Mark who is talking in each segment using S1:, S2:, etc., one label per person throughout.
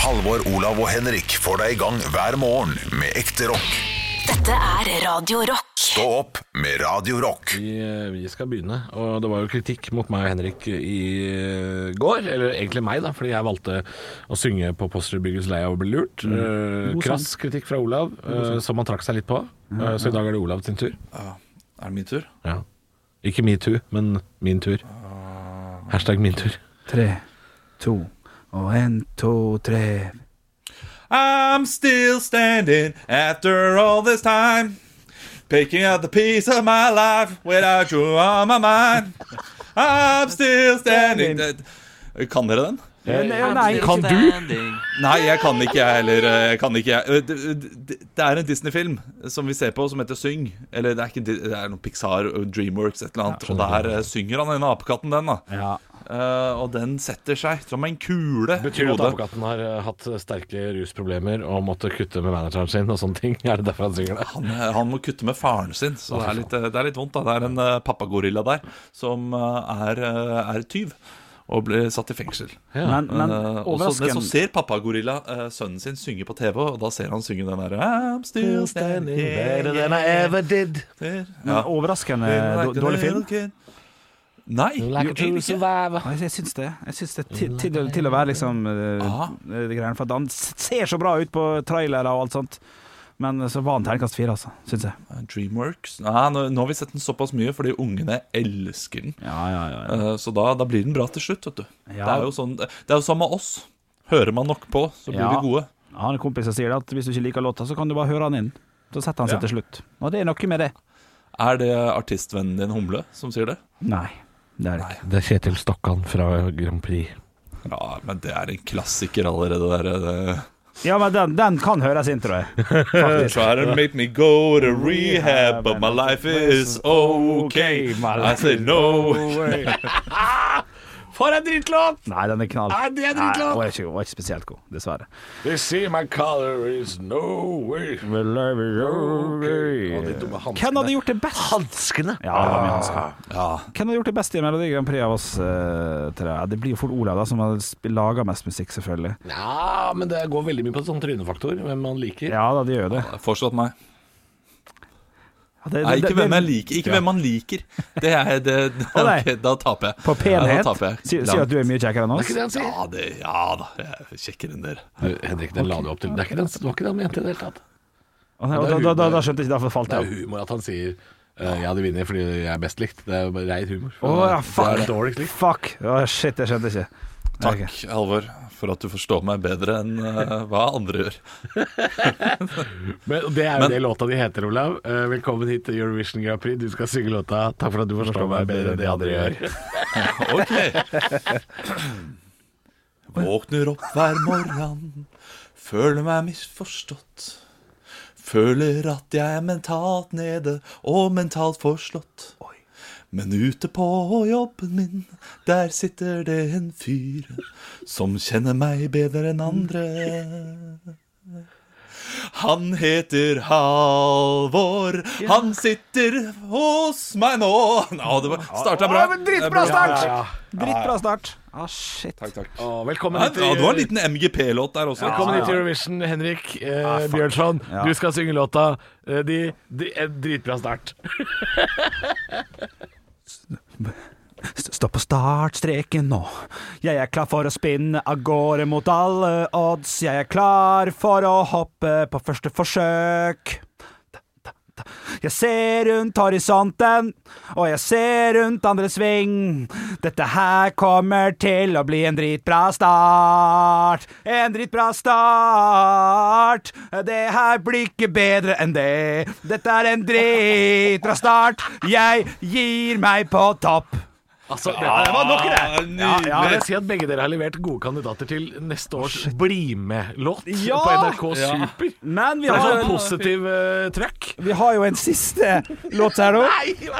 S1: Halvor, Olav og Henrik får deg i gang hver morgen med ekte rock.
S2: Dette er Radio Rock.
S1: Stå opp med Radio Rock.
S3: Vi, eh, vi skal begynne, og det var jo kritikk mot meg og Henrik i eh, går, eller egentlig meg da, fordi jeg valgte å synge på Posterbyggets leie og ble lurt. Eh, krass kritikk fra Olav, eh, som han trakk seg litt på, Eh, så i dag er det Olav sin tur.
S4: Er det min tur?
S3: Ja. Ikke metoo, men min tur. Hashtag min tur.
S5: Tre, to og en, to, tre.
S4: I'm still standing after all this time. Picking up the piece of my life without you on my mind. I'm still standing Det- Kan dere den?
S5: nei.
S3: Kan du?
S4: Nei, jeg kan ikke, jeg heller. Jeg kan ikke, jeg. Det, det, det er en Disney-film som vi ser på, som heter Syng. Eller det er, ikke, Di- det er noe Pixar, Dreamworks, et eller annet. og der eh, synger han ene apekatten den, da.
S5: Ja.
S4: Eh, og den setter seg som en kule
S3: Betyr det at apekatten har eh, hatt sterke rusproblemer og måtte kutte med manageren sin og sånne ting? Er det derfor han synger det?
S4: Han, eh, han må kutte med faren sin, så det er litt, det er litt vondt. da Det er en eh, pappagorilla der som eh, er, eh, er tyv og blir satt i fengsel.
S5: Men,
S4: Men,
S5: men
S4: eh, og så, men så
S5: overraskende
S4: ser pappagorilla eh, sønnen sin synge på TV, og da ser han synge den derre I'm still standing
S3: Better than I ever did. eh,
S4: there.
S5: men Overraskende
S4: Like a
S5: dår- dårlig film.
S4: little kid. Nei,
S3: Like a
S4: jo,
S3: true
S4: egentlig ikke.
S3: survivor.
S5: Ja, Jeg, jeg syns det. Jeg syns det er til, til, til å være liksom eh,
S4: Aha.
S5: eh, det greiene. For at han s- ser så bra ut på trailere og alt sånt. Men eh, så var han terningkast fire, altså. Syns jeg.
S4: Dreamworks Nei, nå, nå har vi sett den såpass mye fordi ungene elsker den.
S5: Ja, ja, ja.
S4: Eh, Så da, da blir den bra til slutt, vet du.
S5: Ja.
S4: Det er jo sånn, det er jo samme med oss. Hører man nok på, så blir
S5: Ja.
S4: vi gode.
S5: Han kompisen sier det at hvis du ikke liker låta, så kan du bare høre han inn. Så setter han seg
S4: Ja.
S5: til slutt. Og det er noe med det.
S4: Er det artistvennen din Humle som sier det?
S5: Nei, det er det ikke.
S3: Det er Kjetil Stokkan fra Grand Prix.
S4: Ja, men det er en klassiker allerede der. eh. Det.
S5: Ja, men den, den kan høres inn, tror jeg. Faktisk.
S4: Try to make me go to rehab, but my life is okay. I said no.
S3: For en drittlåt!
S5: Nei, den er knall.
S3: Nei, det er
S5: Nei,
S3: dritklart.
S5: den var ikke, var ikke spesielt god, dessverre.
S3: They see my color is no way.
S5: Hvem hadde gjort det best?
S3: Hanskene!
S5: Ja, det var mye hansker.
S4: Ja,
S5: Hvem hadde gjort det best i Melodi Grand Prix av oss eh, tre? Ja, Det blir jo fort Olav, da, som har sp- laget mest musikk, selvfølgelig.
S3: Ja, men det går veldig mye på sånn trynefaktor, hvem man liker.
S5: Ja da, det gjør jo det.
S4: fortsatt meg.
S5: Ja, det-
S4: Nei,
S5: det-
S4: ikke
S5: det-
S4: hvem jeg liker. Ikke hvem man liker. Det er det,
S5: Å, nei.
S4: ok, Da taper jeg.
S5: På
S4: Ja,
S5: penhet?
S4: da taper jeg.
S5: Sier si at du er mye kjekkere enn
S3: Det er
S5: oss?
S3: ikke det han sier.
S4: Ja, det, ja da, jeg er kjekkere enn dere.
S3: Du, Henrik, den la du opp til. Det, er ikke den, det var ikke det han mente i det hele tatt.
S5: Og Da, da, da, da skjønte jeg ikke, da falt
S3: Det
S5: jeg
S3: er
S5: av.
S3: humor at han sier eh, ja, det vinner fordi jeg er best likt. Det er jo bare rein humor.
S5: Å ja,
S3: Det er
S5: fuck!
S3: dårligst likt.
S5: Fuck! Å, shit, jeg skjønte ikke.
S4: Takk,
S5: Ok.
S4: Halvor, for at du forstår meg bedre enn eh, hva andre gjør.
S3: Men det er jo det låta di heter, Olav. Eh, velkommen hit til Eurovision Grand Prix. Du skal synge låta 'Takk for at du forstår meg bedre enn de andre gjør'.
S4: Ok. Våkner opp hver morgen, føler meg misforstått. Føler at jeg er mentalt nede og mentalt forslått. Men ute på jobben min, der sitter det en fyr som kjenner meg bedre enn andre. Han heter Halvor, han sitter hos meg nå. Nå, det var- starta bra.
S5: Å, men
S3: Ja,
S5: dritbra start!
S3: ja.
S5: Drittbra start. Ah, shit.
S3: Å, velkommen
S4: Ja,
S3: hit til
S4: ja, det var en liten MGP-låt der også.
S3: Velkommen hit til Eurovision, Henrik eh,
S5: fuck.
S3: Bjørnson.
S5: Ja.
S3: Du skal synge låta eh, de, de, En dritbra start.
S5: St- Stå på startstreken nå. Jeg er klar for å spinne av gårde mot alle odds. Jeg er klar for å hoppe på første forsøk. Ta, ta, ta. Jeg ser rundt horisonten, og jeg ser rundt andre sving. Dette her kommer til å bli en dritbra start. En dritbra start. Det her blir ikke bedre enn det. Dette er en dritbra start. Jeg gir meg på topp.
S3: Altså, det,
S4: Ja,
S3: det var nok i det.
S4: Nydelig.
S3: Ja, jeg vil si at Begge dere har levert gode kandidater til neste års Bli med-låt
S5: Ja!
S3: på NRK Super.
S5: Men vi
S3: Det er
S5: har,
S3: sånn positiv eh, trøkk.
S5: vi har jo en siste låt her nå.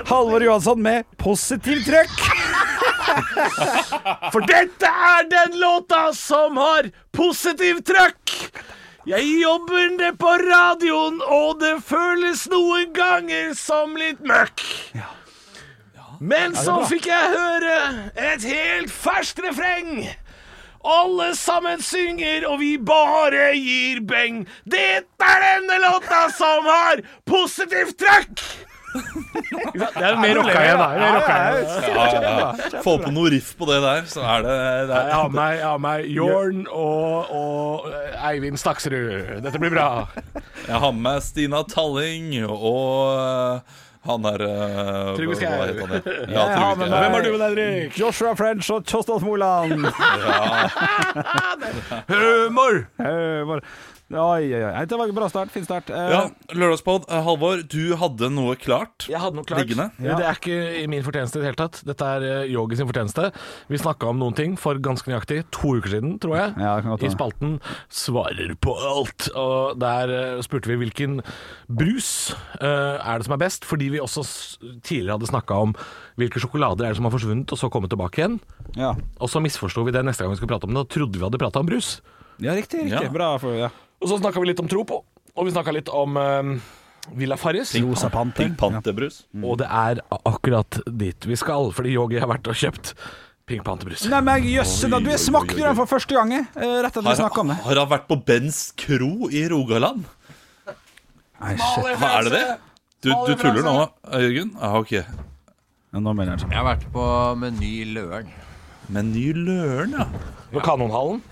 S5: Halvor Johansson med 'Positiv trøkk'.
S3: For dette er den låta som har positiv trøkk. Jeg jobber ned på radioen, og det føles noen ganger som litt møkk. Men så fikk jeg høre et helt ferskt refreng. Alle sammen synger, og vi bare gir beng. Dette er denne låta som har positivt trøkk! Ikke sant? Det er mer rocka igjen, da. Mer rocka igjen.
S4: Ja, ja, ja. Få på noe riff på det der, så er det, det
S3: Jeg
S4: er,
S3: har med meg, jeg har med meg Jorn og, og eh, Eivind Staksrud. Dette blir bra.
S4: Jeg har med meg Stina Talling og øh, han der øh,
S3: Trygve Skau.
S4: hva heter han, ja? Ja,
S5: Jeg har
S4: Trygve
S5: med
S4: Skau.
S3: Hvem
S5: meg
S3: er du, Henrik?
S5: eh, Joshua French og Kjostolf Moland.
S3: Humor!
S5: Eh, bare- Oi, oi, oi. Nei, Det var en bra start. Fin start. Eh,
S4: Ja, Lørdagspod. Eh, Halvor, du hadde noe klart.
S3: Jeg hadde noe klart.
S4: Liggende.
S3: Ja. Det er ikke i min fortjeneste i det hele tatt. Dette er eh, Yogi sin fortjeneste. Vi snakka om noen ting for ganske nøyaktig to uker siden, tror jeg.
S5: Ja, det kan godt
S3: I
S5: være.
S3: spalten 'Svarer på alt'. Og der eh, spurte vi hvilken brus eh, er det som er best, fordi vi også s- tidligere hadde snakka om hvilke sjokolader er det som har forsvunnet og så kommet tilbake igjen.
S5: ja.
S3: Og så misforsto vi det neste gang vi skulle prate om det, og trodde vi hadde prata om brus.
S5: ja riktig.
S4: Ja.
S5: riktig. Bra. For, ja.
S3: Og så snakka vi litt om Tropo, og vi snakka litt om eh, Villa Farris.
S5: Rosa panter.
S4: Pink Panterbrus.
S3: Og det er akkurat dit vi skal, fordi Yogi har vært og kjøpt Pink Panther-brus.
S5: Nei, men jøsse, da. Du
S4: Oi, oi,
S5: jeg smakte
S4: oi,
S5: jo den
S4: oi.
S5: for første gang, eh, rett etter at vi
S4: Har,
S5: snakka om det.
S4: har han vært på Bens kro i Rogaland?
S5: Nei, shit.
S4: Hva er det det? Du, du tuller nå, Jørgen? Ah, ok.
S5: Ja, Nå mener jeg det.
S6: Jeg har vært på Meny Løren.
S4: Men ny Løren, ja.
S3: På Kanonhallen.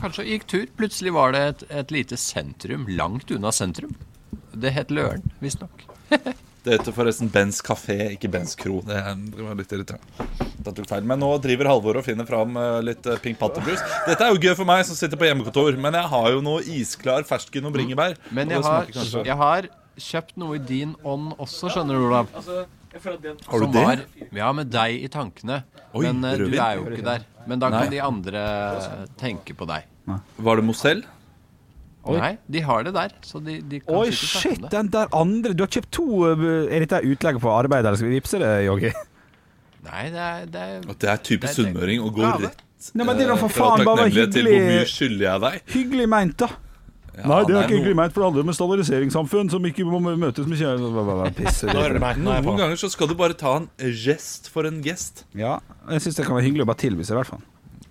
S6: Kanskje gikk tur. Plutselig var det et, et lite sentrum, langt unna sentrum. Det het Løren, visstnok.
S4: Det heter forresten Bens kafé, ikke Bens kro. Det er- det var litt irriterende. Da tok feil. Men nå driver Halvor og finner fram eh, litt eh, Pink Panterbrus. Dette er jo gøy for meg som sitter på hjemmekontor, men jeg har jo noe isklar fersken og bringebær.
S6: Men
S4: og
S6: jeg
S4: det
S6: har,
S4: smaker kanskje-
S6: jeg har kjøpt noe i din ånd også, skjønner du, Olav.
S4: Har du
S6: Som
S4: det?
S6: var- Ja, med deg i tankene.
S4: Oi,
S6: Men eh, du
S4: rødvin.
S6: er jo ikke der. Men da
S4: Nei.
S6: kan de andre eh, tenke på deg.
S4: Var det Mozell?
S6: Nei, de har det der. Så de, de kan
S5: Oi,
S6: sikkert snakke
S5: shit,
S6: om det.
S5: den der andre Du har kjøpt to eh, Er dette utlegget på arbeid, eller skal vi vippse det, Yogi?
S6: Nei, det er, det er
S4: At det er typisk
S6: Det er det.
S4: sunnmøring å gå
S6: Ja, det-
S4: rett
S5: Nei, men det er da for
S4: eh, fra
S5: faen bare var
S4: takknemlighet til hvor mye
S5: hyggelig,
S4: skylder jeg deg?
S5: hyggelig meint, da.
S4: Ja,
S5: Nei, det er
S4: nei,
S5: ikke hyggelig
S4: noen-
S5: meint, for det handler om et standardiseringssamfunn som ikke må møtes med kjære... Piss.
S4: Noen ganger så skal du bare ta en gest for en gest.
S5: Ja, jeg syns det kan være hyggelig å bare tilby seg, i hvert fall.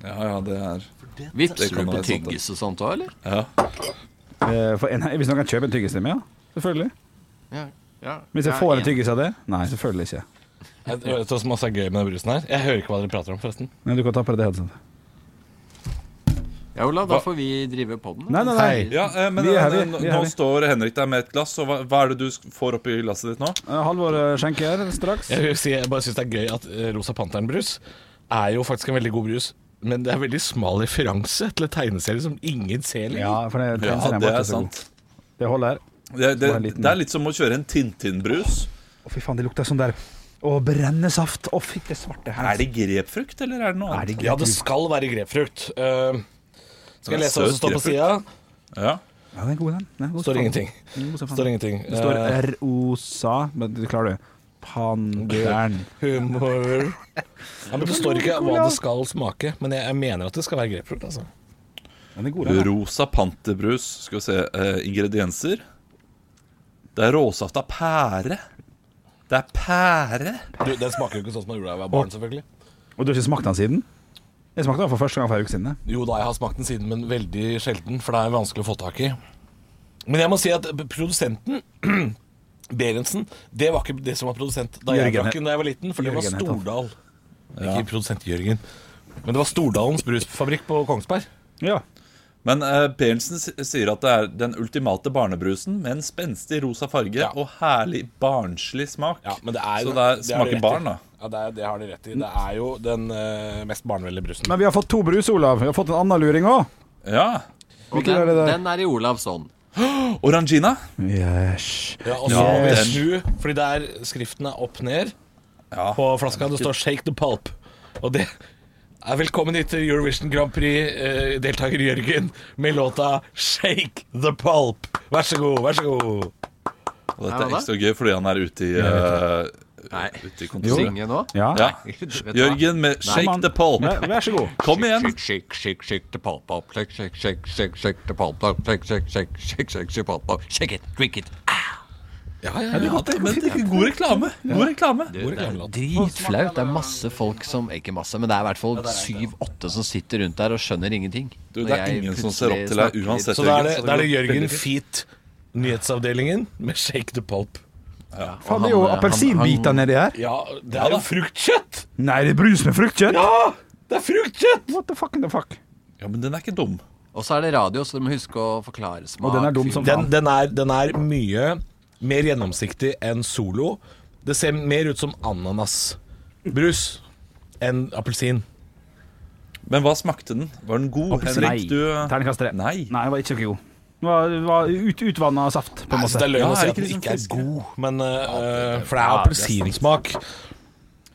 S4: Ja, ja, det er Det
S6: Vipser
S4: kan
S6: du på
S4: være sant, det.
S6: tyggis og sånt òg, eller?
S4: ja.
S5: Eh, For en, hvis noen kan kjøpe en tyggis til meg, ja. Selvfølgelig.
S6: Ja. ja.
S5: Hvis jeg
S6: Ja,
S5: får
S6: en.
S5: en tyggis av det? Nei, selvfølgelig ikke.
S3: Jeg vet hva som også er gøy med den brusen her. Jeg hører ikke hva dere prater om, forresten.
S5: Men du kan ta på deg det headsetet.
S6: Ja, Olav, da får vi drive podden.
S5: Nei, nei, nei.
S4: ja eh, men
S5: Vi er her, vi.
S4: nå-
S5: Vi er her,
S4: nå
S5: vi.
S4: står Henrik der med et glass, og hva, hva er det du sk- får oppi glasset ditt nå?
S5: Eh, Halvor eh, skjenker straks.
S3: Jeg, vil si, jeg bare syns det er gøy at eh, Rosa Panteren-brus er jo faktisk en veldig god brus. Men det er veldig smal referanse til en tegneserie som ingen ser lenger.
S5: Ja, for det,
S4: Ja,
S5: den
S4: det
S5: var ikke
S4: er
S5: så god.
S4: sant.
S5: Det holder.
S4: Det, det,
S5: Bare en liten-
S4: det er litt som å kjøre en Tintin-brus.
S5: Å, fy faen, det lukter sånn der Å, brennesaft. Å, fy, det svarte her.
S4: Er det grepfrukt, eller er det noe
S5: Er det
S4: annet?
S5: greit?
S3: Ja, det skal være grepfrukt. Eh, skal jeg lese hva som står på sida?
S4: Ja.
S5: Ja, den er god, den. den er god,
S3: Står
S5: faen.
S3: ingenting.
S5: Den er god som faen.
S3: Står ingenting.
S5: Det står
S3: Eh,
S5: ROSA, men du klarer det. Panteren.
S3: humor ja, men Det står ikke hva det skal smake, men jeg, jeg mener at det skal være grepfrukt. Altså.
S5: Den er god, den. da.
S4: Rosa panterbrus. Skal vi se eh, Ingredienser. Det er råsaft av pære. Det er pære.
S3: Du, den smaker jo ikke sånn som den gjorde da jeg var barn, selvfølgelig.
S5: Og du har ikke smakt den siden? Jeg smakte den for første gang for en uke siden. jeg.
S3: Jo da, jeg har smakt den siden, men veldig sjelden, for det er vanskelig å få tak i. Men jeg må si at produsenten Berentsen, det var ikke det som var produsent da jeg
S5: Jørgen
S3: drakk den da jeg var liten, for det var
S5: Jørgen het han.
S3: Stordal. Ikke produsent Jørgen. Men det var Stordalens brusfabrikk på Kongsberg.
S5: Ja.
S4: Men eh, Berntsen s- sier at det er den ultimate barnebrusen med en spenstig rosa farge
S3: Ja.
S4: og herlig barnslig smak.
S3: Ja, men det er jo
S4: Så det er,
S3: det har de
S4: smaker
S3: rett i.
S4: barn, da.
S3: Ja, det, er, det har de rett i. Det er jo den eh, mest barnevennlige brusen.
S5: Men vi har fått to brus, Olav. Vi har fått en annen luring òg.
S4: Ja.
S6: Og
S5: Hvilken er det der?
S6: Den, den er i Olavs ånd.
S4: Orangina.
S5: Yes.
S3: Ja, og så
S4: Ja,
S3: må vi
S4: den.
S3: snu, fordi der skriften er opp ned
S4: Ja.
S3: på flaska. Det står 'Shake the pulp'. Og det er velkommen hit til Eurovision Grand Prix-deltaker Jørgen med låta 'Shake the pulp'. Vær så god, vær så god.
S4: Og dette
S6: Ja,
S4: er
S6: hva?
S4: ekstra gøy fordi han er ute i, eh,
S6: Nei.
S4: ute i kontoret.
S6: Synge nå?
S5: Ja.
S4: Ja.
S6: Vet du hva?
S4: Jørgen med 'Shake the Pole'.
S5: Vær vær så god.
S4: Kom igjen.
S6: Shake, shake, shake, shake the pulp up. Shake, shake, shake, shake, shake the pulp up. Shake, shake, shake, shake, shake, shake the pulp up. Shake it, drink it.
S3: Ja, ja,
S4: Ja, det er godt, det. Men det er god reklame. God reklame.
S6: Det er dritflaut. Det er masse folk som Ikke masse, men det er i hvert fall syv-åtte som sitter rundt der og skjønner ingenting.
S4: Du,
S6: Når
S4: det er
S6: jeg
S4: ingen som ser opp
S6: plutselig
S4: til deg
S6: snakker-
S4: uansett,
S3: Så da er det,
S4: Jørgen.
S3: da er det Jørgen Feet, nyhetsavdelingen, med Shake the Pulp.
S5: Faen, det er jo
S6: han-
S5: appelsinbiter
S6: han-
S5: nedi her.
S3: Ja, det er jo fruktkjøtt!
S5: Nei, det er brus med fruktkjøtt.
S3: Ja! Det er fruktkjøtt!
S5: What the fuck in the fuck?
S4: Ja, men den er ikke dum.
S6: Og så er det radio, så du må huske å forklare
S5: Og
S6: smak.
S5: den er dum som
S3: Den,
S5: faen.
S3: den, er, den er mye mer gjennomsiktig enn Solo. Det ser mer ut som ananasbrus enn appelsin.
S4: Men hva smakte den? Var den god, Henrik? Du eh,
S5: Terningkast tre.
S4: Nei.
S5: Nei, den var ikke så god. Den var, den var ut, utvanna saft, på en
S3: Jeg synes det
S5: måte.
S3: er løgn
S4: Ja,
S3: å si
S4: er
S3: at den
S4: ikke
S3: ikke er
S4: liksom
S3: god, men, eh, for det er appelsinsmak.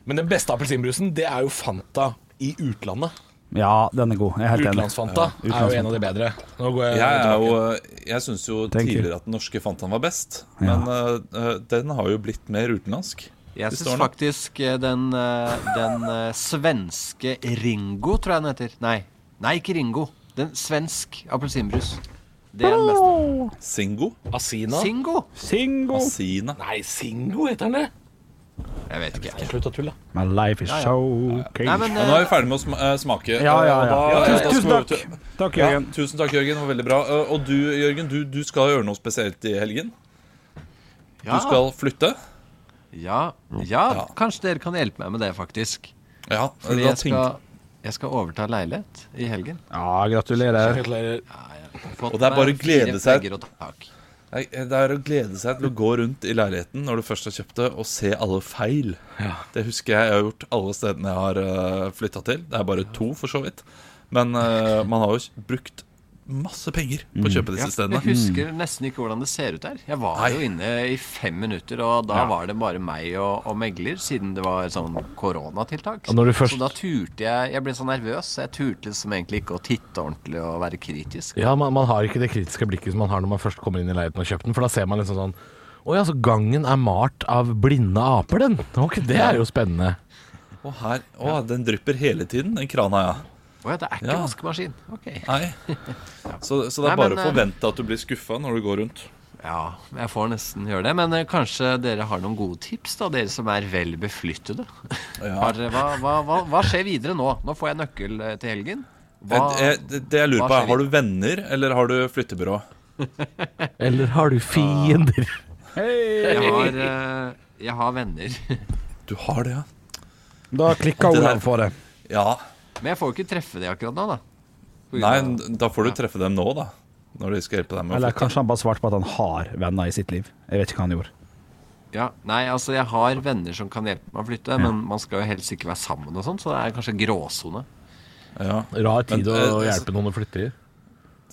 S3: Men den beste appelsinbrusen, det er jo Fanta i utlandet.
S5: Ja, den er god. Jeg er helt enig.
S3: Utenlandsfanta er jo en av de bedre. Nå går jeg,
S4: Jeg, er
S3: tilbake.
S4: jo, eh, jeg syns jo
S5: Tenker.
S4: tidligere at den norske Fantaen var best, men eh, eh, den har jo blitt mer utenlandsk.
S6: Jeg
S4: Det
S6: syns
S4: står nå.
S6: faktisk eh, den, eh, den eh, svenske Ringo, tror jeg den heter. Nei, Nei ikke Ringo. Den svensk appelsinbrus. Det er den beste.
S4: Singo?
S3: Asina?
S6: Singo?
S5: Singo.
S4: Asina.
S3: Nei, Singo heter den det.
S6: Jeg vet ikke.
S3: Slutt å tulle.
S5: My life is so
S6: Nei,
S5: crazy.
S6: men
S4: Ja,
S6: eh,
S4: nå er vi ferdig med å sma eh, smake.
S5: Ja, ja, ja.
S4: Og da- da
S5: Tusen,
S4: skal
S5: tusen
S4: vi over
S5: takk.
S4: til-
S5: Takk,
S4: Ja,
S5: Jørgen.
S4: tusen takk, Jørgen. Det var veldig bra. Eh, Og du, Jørgen, du, du skal gjøre noe spesielt i helgen. Du
S6: ja,
S4: skal flytte.
S6: eh, ja, ja, kanskje dere kan hjelpe meg med det, faktisk.
S4: Ja,
S6: Fordi
S4: Eh, da
S6: jeg skal, jeg skal overta leilighet i helgen.
S5: Ja, gratulerer.
S6: Fått
S4: Og det er
S6: meg
S4: bare å glede
S6: fire
S4: seg.
S6: vegger å ta tak.
S4: Nei, Det er å glede seg til å gå rundt i leiligheten når du først har kjøpt det, og se alle feil. Det husker jeg jeg har gjort alle stedene jeg har uh, flytta til. Det er bare to, for så vidt. Men eh, man har jo k- brukt masse penger på å kjøpe disse
S6: Mm. Jeg
S4: stedene.
S3: Mm.
S6: husker nesten ikke hvordan det ser ut der. Jeg var
S4: Nei.
S6: jo inne i fem minutter, og da var det bare meg og, og megler, siden det var sånn koronatiltak.
S3: Og når du først-
S6: Så da turte jeg Jeg ble så nervøs. så Jeg turte liksom egentlig ikke å titte ordentlig og være kritisk.
S3: Ja, man, man har ikke det kritiske blikket som man har når man først kommer inn i leiligheten og kjøper den, for da ser man liksom sånn Å ja, så gangen er malt av blinde aper, den. Ok, det er jo spennende.
S4: Og her Å, den drypper hele tiden, den krana, ja.
S6: Å ja, det er ikke
S4: Ja.
S6: vaskemaskin. Ok.
S4: Nei. Så, så det
S6: Nei,
S4: er bare
S6: men,
S4: å
S6: eh,
S4: forvente at du blir skuffa når du går rundt.
S6: Ja, jeg får nesten gjøre det. Men eh, kanskje dere har noen gode tips, da, dere som er vel beflyttede. Har dere- hva, hva, hva, hva skjer videre nå? Nå får jeg nøkkel eh, til helgen. Hva,
S4: Eh, eh, det- det jeg lurer
S6: hva
S4: på
S6: skjer
S4: er, Har du venner, eller har du flyttebyrå?
S3: Eller har du fiender?
S6: jeg, har, eh, jeg har venner.
S4: Du har det, ja?
S5: Da klikker
S4: Det der-
S5: Olav for det.
S4: Ja.
S6: Men jeg får jo ikke treffe de akkurat nå, da. På grunn
S4: Nei,
S6: av-
S4: da får du treffe dem nå, da. Når de skal hjelpe deg med å
S5: Eller
S4: flytte.
S5: kanskje han bare svarte på at han har venner i sitt liv. Jeg vet ikke hva han gjorde.
S6: ja, nei, altså jeg har venner som kan hjelpe meg å flytte, men man skal jo helst ikke være sammen og sånn, så det er kanskje gråsone.
S4: Ja.
S3: Rar tid å
S4: Men, eh,
S3: hjelpe noen å flytte i.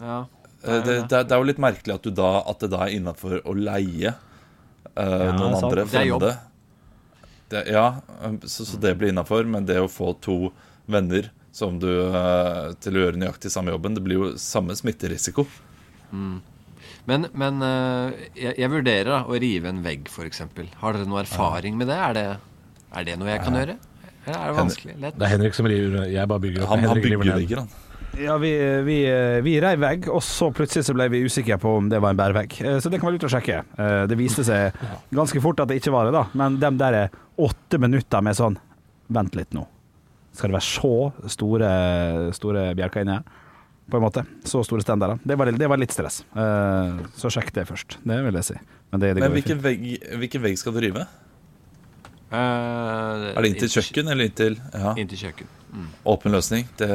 S6: Ja.
S4: Eh, Det, det, det er jo litt merkelig at, du da, at det da er innafor å leie eh, noen
S5: sant.
S4: andre
S6: Det er jobb.
S4: fremmede. Det, ja, eh, så, så det blir innafor, men det å få to venner som du, eh, til å gjøre nøyaktig samme jobben, det blir jo samme smitterisiko.
S6: Men, men eh, jeg, jeg vurderer da å rive en vegg, f.eks. Har dere noe erfaring med det? Er det, er det noe jeg kan gjøre? Eller er det vanskelig? Lett?
S3: Det er Henrik som river. Jeg bare bygger opp.
S4: Han, han
S3: Henrik river
S4: bygger
S3: ned.
S4: vegger, han.
S5: Ja, vi, eh, vi, vi rei vegg, og så plutselig så ble vi usikre på om det var en bærevegg. Eh, Så det kan vi ut og sjekke. Eh, Det viste seg ganske fort at det ikke var det, da. Men de der er åtte minutter med sånn Vent litt nå. Skal det være så store, store bjelker inni her? På en måte. Så store stendere. Det var, det var litt stress. Eh, Så sjekk det først. Det vil jeg si. Men det, det
S4: Men
S5: går jo
S4: hvilken
S5: fint.
S4: vegg, hvilken vegg skal du rive?
S6: Eh,
S4: Er det inntil kjøkken eller inntil ja,
S6: Inntil kjøkken.
S4: åpen løsning? Det,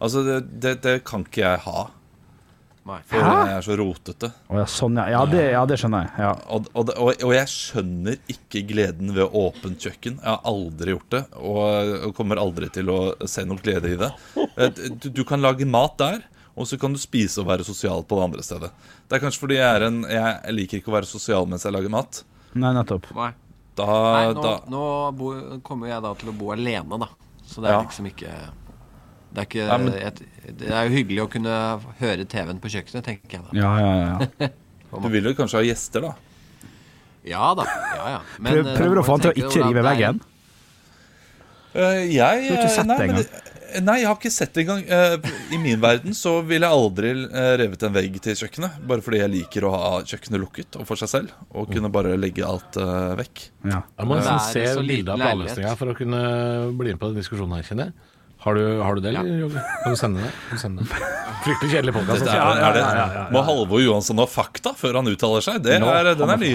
S4: altså, det, det, det kan ikke jeg ha.
S6: Nei.
S4: For jeg er så rotete.
S5: Å ja, sånn, ja. Ja, det, ja, det skjønner jeg. Ja.
S4: Og, og, det- og, og jeg skjønner ikke gleden ved åpent kjøkken. Jeg har aldri gjort det, og og kommer aldri til å se noen glede i det. Eh, Du, du kan lage mat der, og så kan du spise og være sosial på det andre stedet. Det er kanskje fordi jeg, er en, jeg liker ikke å være sosial mens jeg lager mat.
S5: Nei, nettopp.
S6: Nei.
S4: Da,
S5: Eh,
S6: Nei, nå,
S4: da
S6: nå bo, kommer jeg da til å bo alene, da. Så det er
S4: Ja.
S6: liksom ikke det er, ikke,
S4: Nei, men-
S6: et, det er jo hyggelig å kunne høre TV-en på kjøkkenet, tenker jeg da.
S5: Ja, ja, ja. ja.
S4: Du vil jo kanskje ha gjester, da.
S6: Ja da. ja ja Men,
S5: Prøv,
S6: eh, da
S5: prøver å
S6: må
S5: få han til å
S6: tenke
S5: ikke
S6: hvordan
S5: rive
S6: det er.
S5: veggen.
S4: Eh, Jeg
S5: har ikke
S4: eh,
S5: sett
S4: nei,
S5: det
S4: men
S5: engang.
S4: det- eh, Nei, jeg har ikke sett det engang. Eh, I min verden så ville jeg aldri eh, revet en vegg til kjøkkenet. Bare fordi jeg liker å ha kjøkkenet lukket og for seg selv. Og
S5: Mm.
S4: kunne bare legge alt eh, vekk.
S5: Ja.
S3: Jeg må
S6: Det er
S3: nesten se
S6: så liten
S3: bilde av
S6: leilighet.
S3: planløsninga for å kunne bli med på den diskusjonen her, kjenner jeg. Har du, har du det, eller? Jogge? Kan du sende det? Kan du sende det? Fryktelig kjedelig podkast.
S4: Dette er,
S3: Altså.
S4: er det, Må Halvor Johansson ha fakta før han uttaler seg? Det er, den er ny.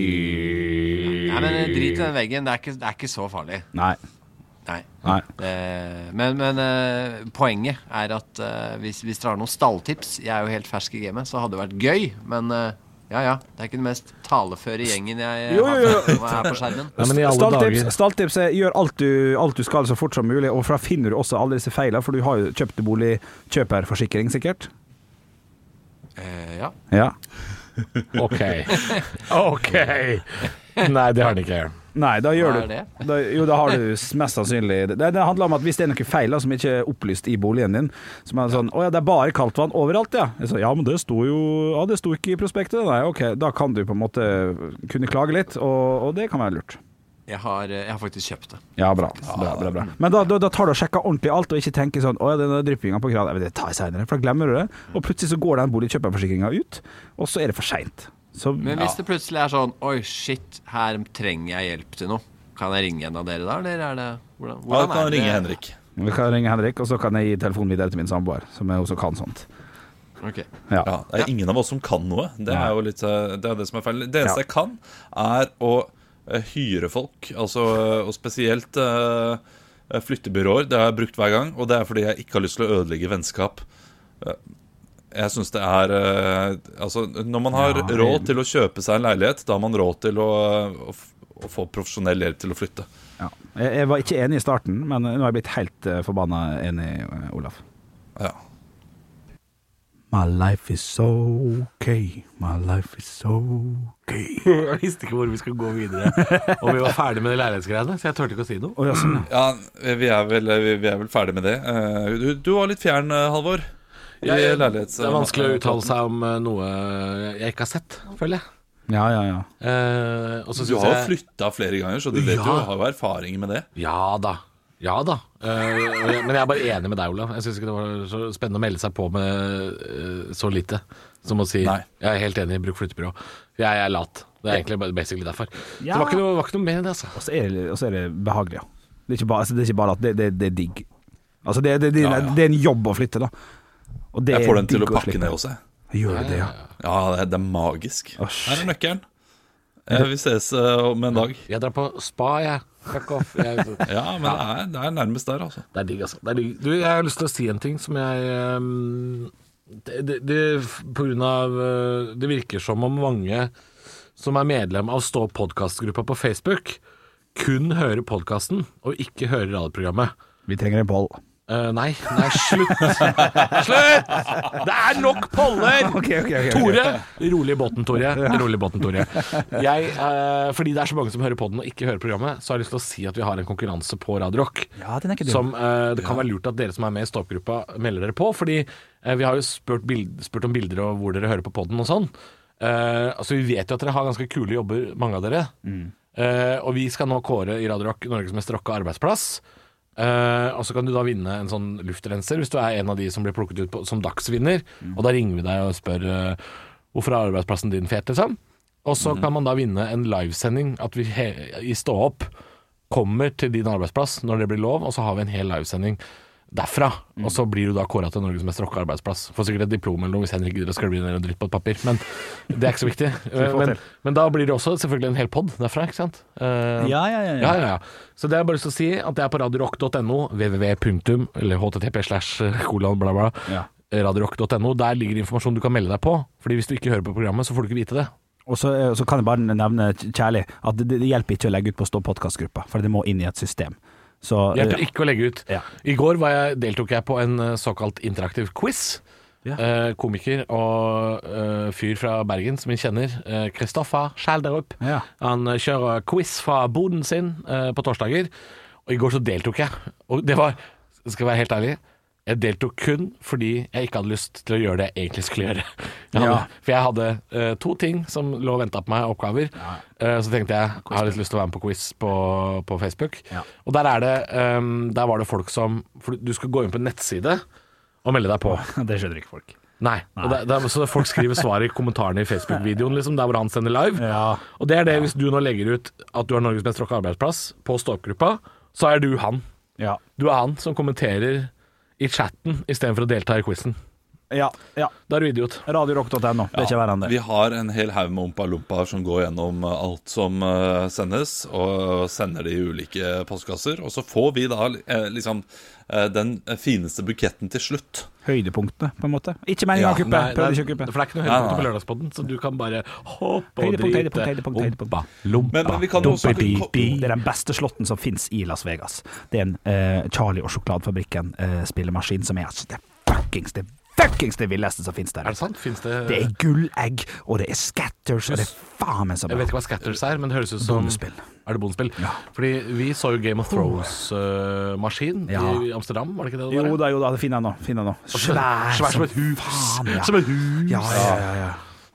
S6: Nei, men eh, drit i den veggen. Det er ikke, det er ikke så farlig.
S5: Nei.
S6: Nei.
S5: Nei.
S6: Eh, Men, men eh, poenget er at eh, hvis, hvis dere har noen stalltips Jeg er jo helt fersk i gamet, så hadde det vært gøy. Men eh, ja ja, det er ikke den mest taleføre gjengen jeg
S5: Jo, jo, jo.
S6: har med her på skjermen.
S3: Nei, men i alle
S5: Stalltips,
S3: dager
S5: stalltips er gjør alt du, alt du skal så fort som mulig, og fra finner du også alle disse feilene, for du har jo kjøpt bolig, kjøperforsikring sikkert.
S6: Eh, ja.
S5: Ja.
S3: OK. OK. Nei, det har den ikke.
S5: Nei, da gjør
S6: Hva er
S5: du
S6: det?
S5: da, Jo, da har du s- mest sannsynlig det, det handler om at hvis det er noen feil da, som ikke er opplyst i boligen din, som er sånn 'Å ja, det er bare kaldtvann overalt', ja. Jeg sa, ja, men det sto jo Ja, det sto ikke i prospektet. Nei, OK, da kan du på en måte kunne klage litt, og, og det kan være lurt.
S6: Jeg har, eh, jeg har faktisk kjøpt det.
S5: Ja, bra. bra, bra, bra. Men da, da, da tar du og sjekker ordentlig alt, og ikke tenker sånn 'Å ja, den dryppinga på kranen Det tar jeg seinere', for da glemmer du det. Og plutselig så går den boligkjøperforsikringa ut, og så er det for seint. Så
S6: Men
S5: ja.
S6: hvis det plutselig er sånn Oi, shit, her trenger jeg hjelp til noe. Kan jeg ringe en av dere da, eller er det Hvordan,
S4: Ja, da kan
S6: hvordan er
S4: han
S6: det?
S4: ringe Henrik.
S5: Vi kan ringe Henrik, og så kan jeg gi telefonen videre til min samboer, som er- også kan sånt.
S6: Ok.
S5: Ja.
S4: Ja, det er ingen av oss som kan noe. Det er jo litt, eh, det, er det som er feil. Det
S5: Ja.
S4: eneste jeg kan, er å eh, hyre folk. Altså, eh, og spesielt eh, flyttebyråer. Det har jeg brukt hver gang, og det er fordi jeg ikke har lyst til å ødelegge vennskap. Eh, Jeg synes det er eh, Altså, når man har
S5: Ja, det-
S4: råd til å kjøpe seg en leilighet, da har man råd til å, å, f- å få profesjonell hjelp til å flytte.
S5: Ja. Jeg, jeg var ikke enig i starten, men nå er jeg blitt helt eh, forbanna enig, eh, Olaf.
S4: Ja.
S5: My life is okay, my life is okay.
S3: Jeg visste ikke hvor vi skulle gå videre. Og vi var ferdig med de leilighetsgreiene, så jeg turte ikke å si noe.
S5: Å ja, sånn, ja.
S4: Ja, vi er vel, eh, vi er vel ferdig med det. Eh, Du, du var litt fjern, eh, Halvor. i
S3: Jeg, det
S4: leilighets-
S3: er vanskelig å uttale seg om eh, noe jeg ikke har sett, føler jeg.
S5: Ja, ja, ja.
S3: Eh, og så
S4: Du
S3: synes
S4: har jo
S3: jeg-
S4: flytta flere ganger, så du vet
S3: Ja.
S4: jo, har jo erfaring med det.
S3: Ja da. Ja da. Eh, og jeg- men jeg er bare enig med deg, Olav. Jeg syns ikke det var så spennende å melde seg på med eh, så lite som å si
S4: Nei.
S3: Jeg er helt enig, bruk flyttebyrå. Jeg er lat. Det er egentlig bare basically derfor.
S5: Ja.
S3: Det var ikke noe, var ikke noe mer enn det, altså.
S5: Og så er det, og så er det behagelig, ja. Det er ikke bare, altså, det er, ikke bare at det, det, det er digg. Altså, det, det, det,
S4: Ja, ja.
S5: det er en jobb å flytte, da. Og det
S4: Jeg
S5: er
S4: får den til å
S5: digg
S4: pakke
S5: slippe.
S4: ned også. jeg.
S5: Gjør du det, ja?
S4: Ja, det er, det er magisk.
S5: Å, shit.
S4: Her er nøkkelen. Eh, Vi ses eh, om en dag.
S3: Jeg drar på spa, jeg. Fuck off. Jeg, det
S4: Ja, men det er, det er nærmest der, altså.
S3: er digg, altså. Det er digg. Du, jeg har lyst til å si en ting som jeg ehm, det, det, det, på grunn av, eh, det virker som om mange som er medlem av Stå podkastgruppa på Facebook, kun hører podkasten og ikke hører radioprogrammet.
S5: Vi trenger en poll.
S3: Eh, nei, nei, slutt! slutt! Det er nok poller! Tore! Rolig i båten, Tore. Rolig i båten, Tore. Jeg, eh, fordi det er så mange som hører podden og ikke hører programmet, så har jeg lyst til å si at vi har en konkurranse på Radio Rock.
S5: Ja, den er ikke dum.
S3: Som eh, det kan være lurt at dere som er med i Stoppgruppa, melder dere på. Fordi eh, vi har jo spurt, bild, spurt om bilder og hvor dere hører på podden og sånn. Eh, altså Vi vet jo at dere har ganske kule jobber, mange av dere. Eh, og vi skal nå kåre i Radio Rock Norges mest rocka arbeidsplass. Eh, og så kan du da vinne en sånn luftrenser hvis du er en av de som blir plukket ut på, som dagsvinner. Og da ringer vi deg og spør eh, hvorfor er arbeidsplassen din fet, liksom. Og så kan man da vinne en livesending. At vi he i Stå opp kommer til din arbeidsplass når det blir lov, og så har vi en hel livesending derfra.
S5: Mm.
S3: Og så blir du da kåra til Norges mest rocka arbeidsplass. Får sikkert et diplom eller noe hvis Henrik gidder å skrive ned en dritt på et papir, men det er ikke så viktig. Eh,
S5: vi få
S3: men,
S5: til.
S3: men da blir det også selvfølgelig en hel pod derfra, ikke sant? Eh,
S5: Ja, ja, ja, ja.
S3: ja, ja. Så det er bare lyst til å si at det er på radiorock.no, www. punktum, eller http slash eh, kolon bla bla, Eh,
S5: Ja.
S3: radiorock.no. Der ligger informasjon du kan melde deg på. Fordi hvis du ikke hører på programmet, så får du ikke vite det.
S5: Og så, eh, så kan jeg bare nevne kjærlig at det, det hjelper ikke å legge ut på Stå podkastgruppa, for det må inn i et system. Så eh,
S3: Hjelper ikke å legge ut.
S5: Ja.
S3: I går var jeg, deltok jeg på en eh, såkalt interaktiv quiz.
S5: Ja.
S3: Eh, komiker og eh, fyr fra Bergen som vi kjenner, eh, Kristoffer Schjelderup.
S5: Ja.
S3: Han eh, kjører quiz fra boden sin eh, på torsdager. Og i går så deltok jeg. Og det var, skal jeg være helt ærlig, Jeg deltok kun fordi jeg ikke hadde lyst til å gjøre det jeg egentlig skulle gjøre. Jeg hadde,
S5: Ja.
S3: For jeg hadde eh, to ting som lå og venta på meg, oppgaver. Eh, så tenkte jeg jeg har litt lyst til å være med på quiz på, på Facebook.
S5: Ja.
S3: Og der er det ehm, Der var det folk som For du skal gå inn på en nettside og melde deg på.
S5: Det skjønner ikke folk.
S3: Nei. Og det, det er, så folk skriver svar i kommentarene i Facebook-videoen, liksom, der hvor han sender live.
S5: Ja.
S3: Og det er det, hvis du nå legger ut at du har Norges mest rocka arbeidsplass på stå-opp-gruppa, så er du han.
S5: Ja.
S3: Du er han som kommenterer i chatten istedenfor å delta i quizen.
S5: Ja. ja.
S3: Da er du idiot.
S5: Radiorock.no. Det er ikke verre enn det.
S4: Vi har en hel haug med ompa-lompaer som går gjennom eh, alt som eh, sendes, og sender det i ulike postkasser. Og så får vi da eh, liksom eh, den fineste buketten til slutt.
S5: Høydepunktene, på en måte. Ikke mer
S4: Ja,
S5: engang kuppe.
S3: Nei,
S5: Prøvde
S3: det er-
S5: ikke å kuppe.
S3: For det er ikke noe
S4: Nei,
S3: høydepunkt
S4: nei.
S3: på lørdagspodden, så du kan bare hoppe og
S5: Høydepunkt,
S3: drite.
S5: høydepunkt, høydepunkt, høydepunkt.
S3: Ompa, lompa,
S4: Men- men vi kan jo også-
S3: dompedipi.
S5: Det er den beste slåtten som finnes i Las Vegas. Det er en eh, Charlie og sjokoladefabrikken-spillemaskin som er altså det fuckings det fuckings det villeste som finnes der.
S3: Er det sant? Fins det
S5: Det er gullegg, og det er scatters, og det er faen meg så
S3: Jeg
S5: bra.
S3: vet ikke hva scatters er, men det høres ut som
S5: Bondespill.
S3: Er det bondespill? Fordi vi så jo Game of Thrones-maskin
S5: Ja.
S3: i Amsterdam, var det ikke det det
S5: Jo
S3: var?
S5: da, jo da, det finner jeg nå. Finner jeg nå. Svær,
S3: Svær som
S5: som
S3: et hus.
S5: faen, ja.
S3: Som et hus.
S5: Ja, ja, ja, ja.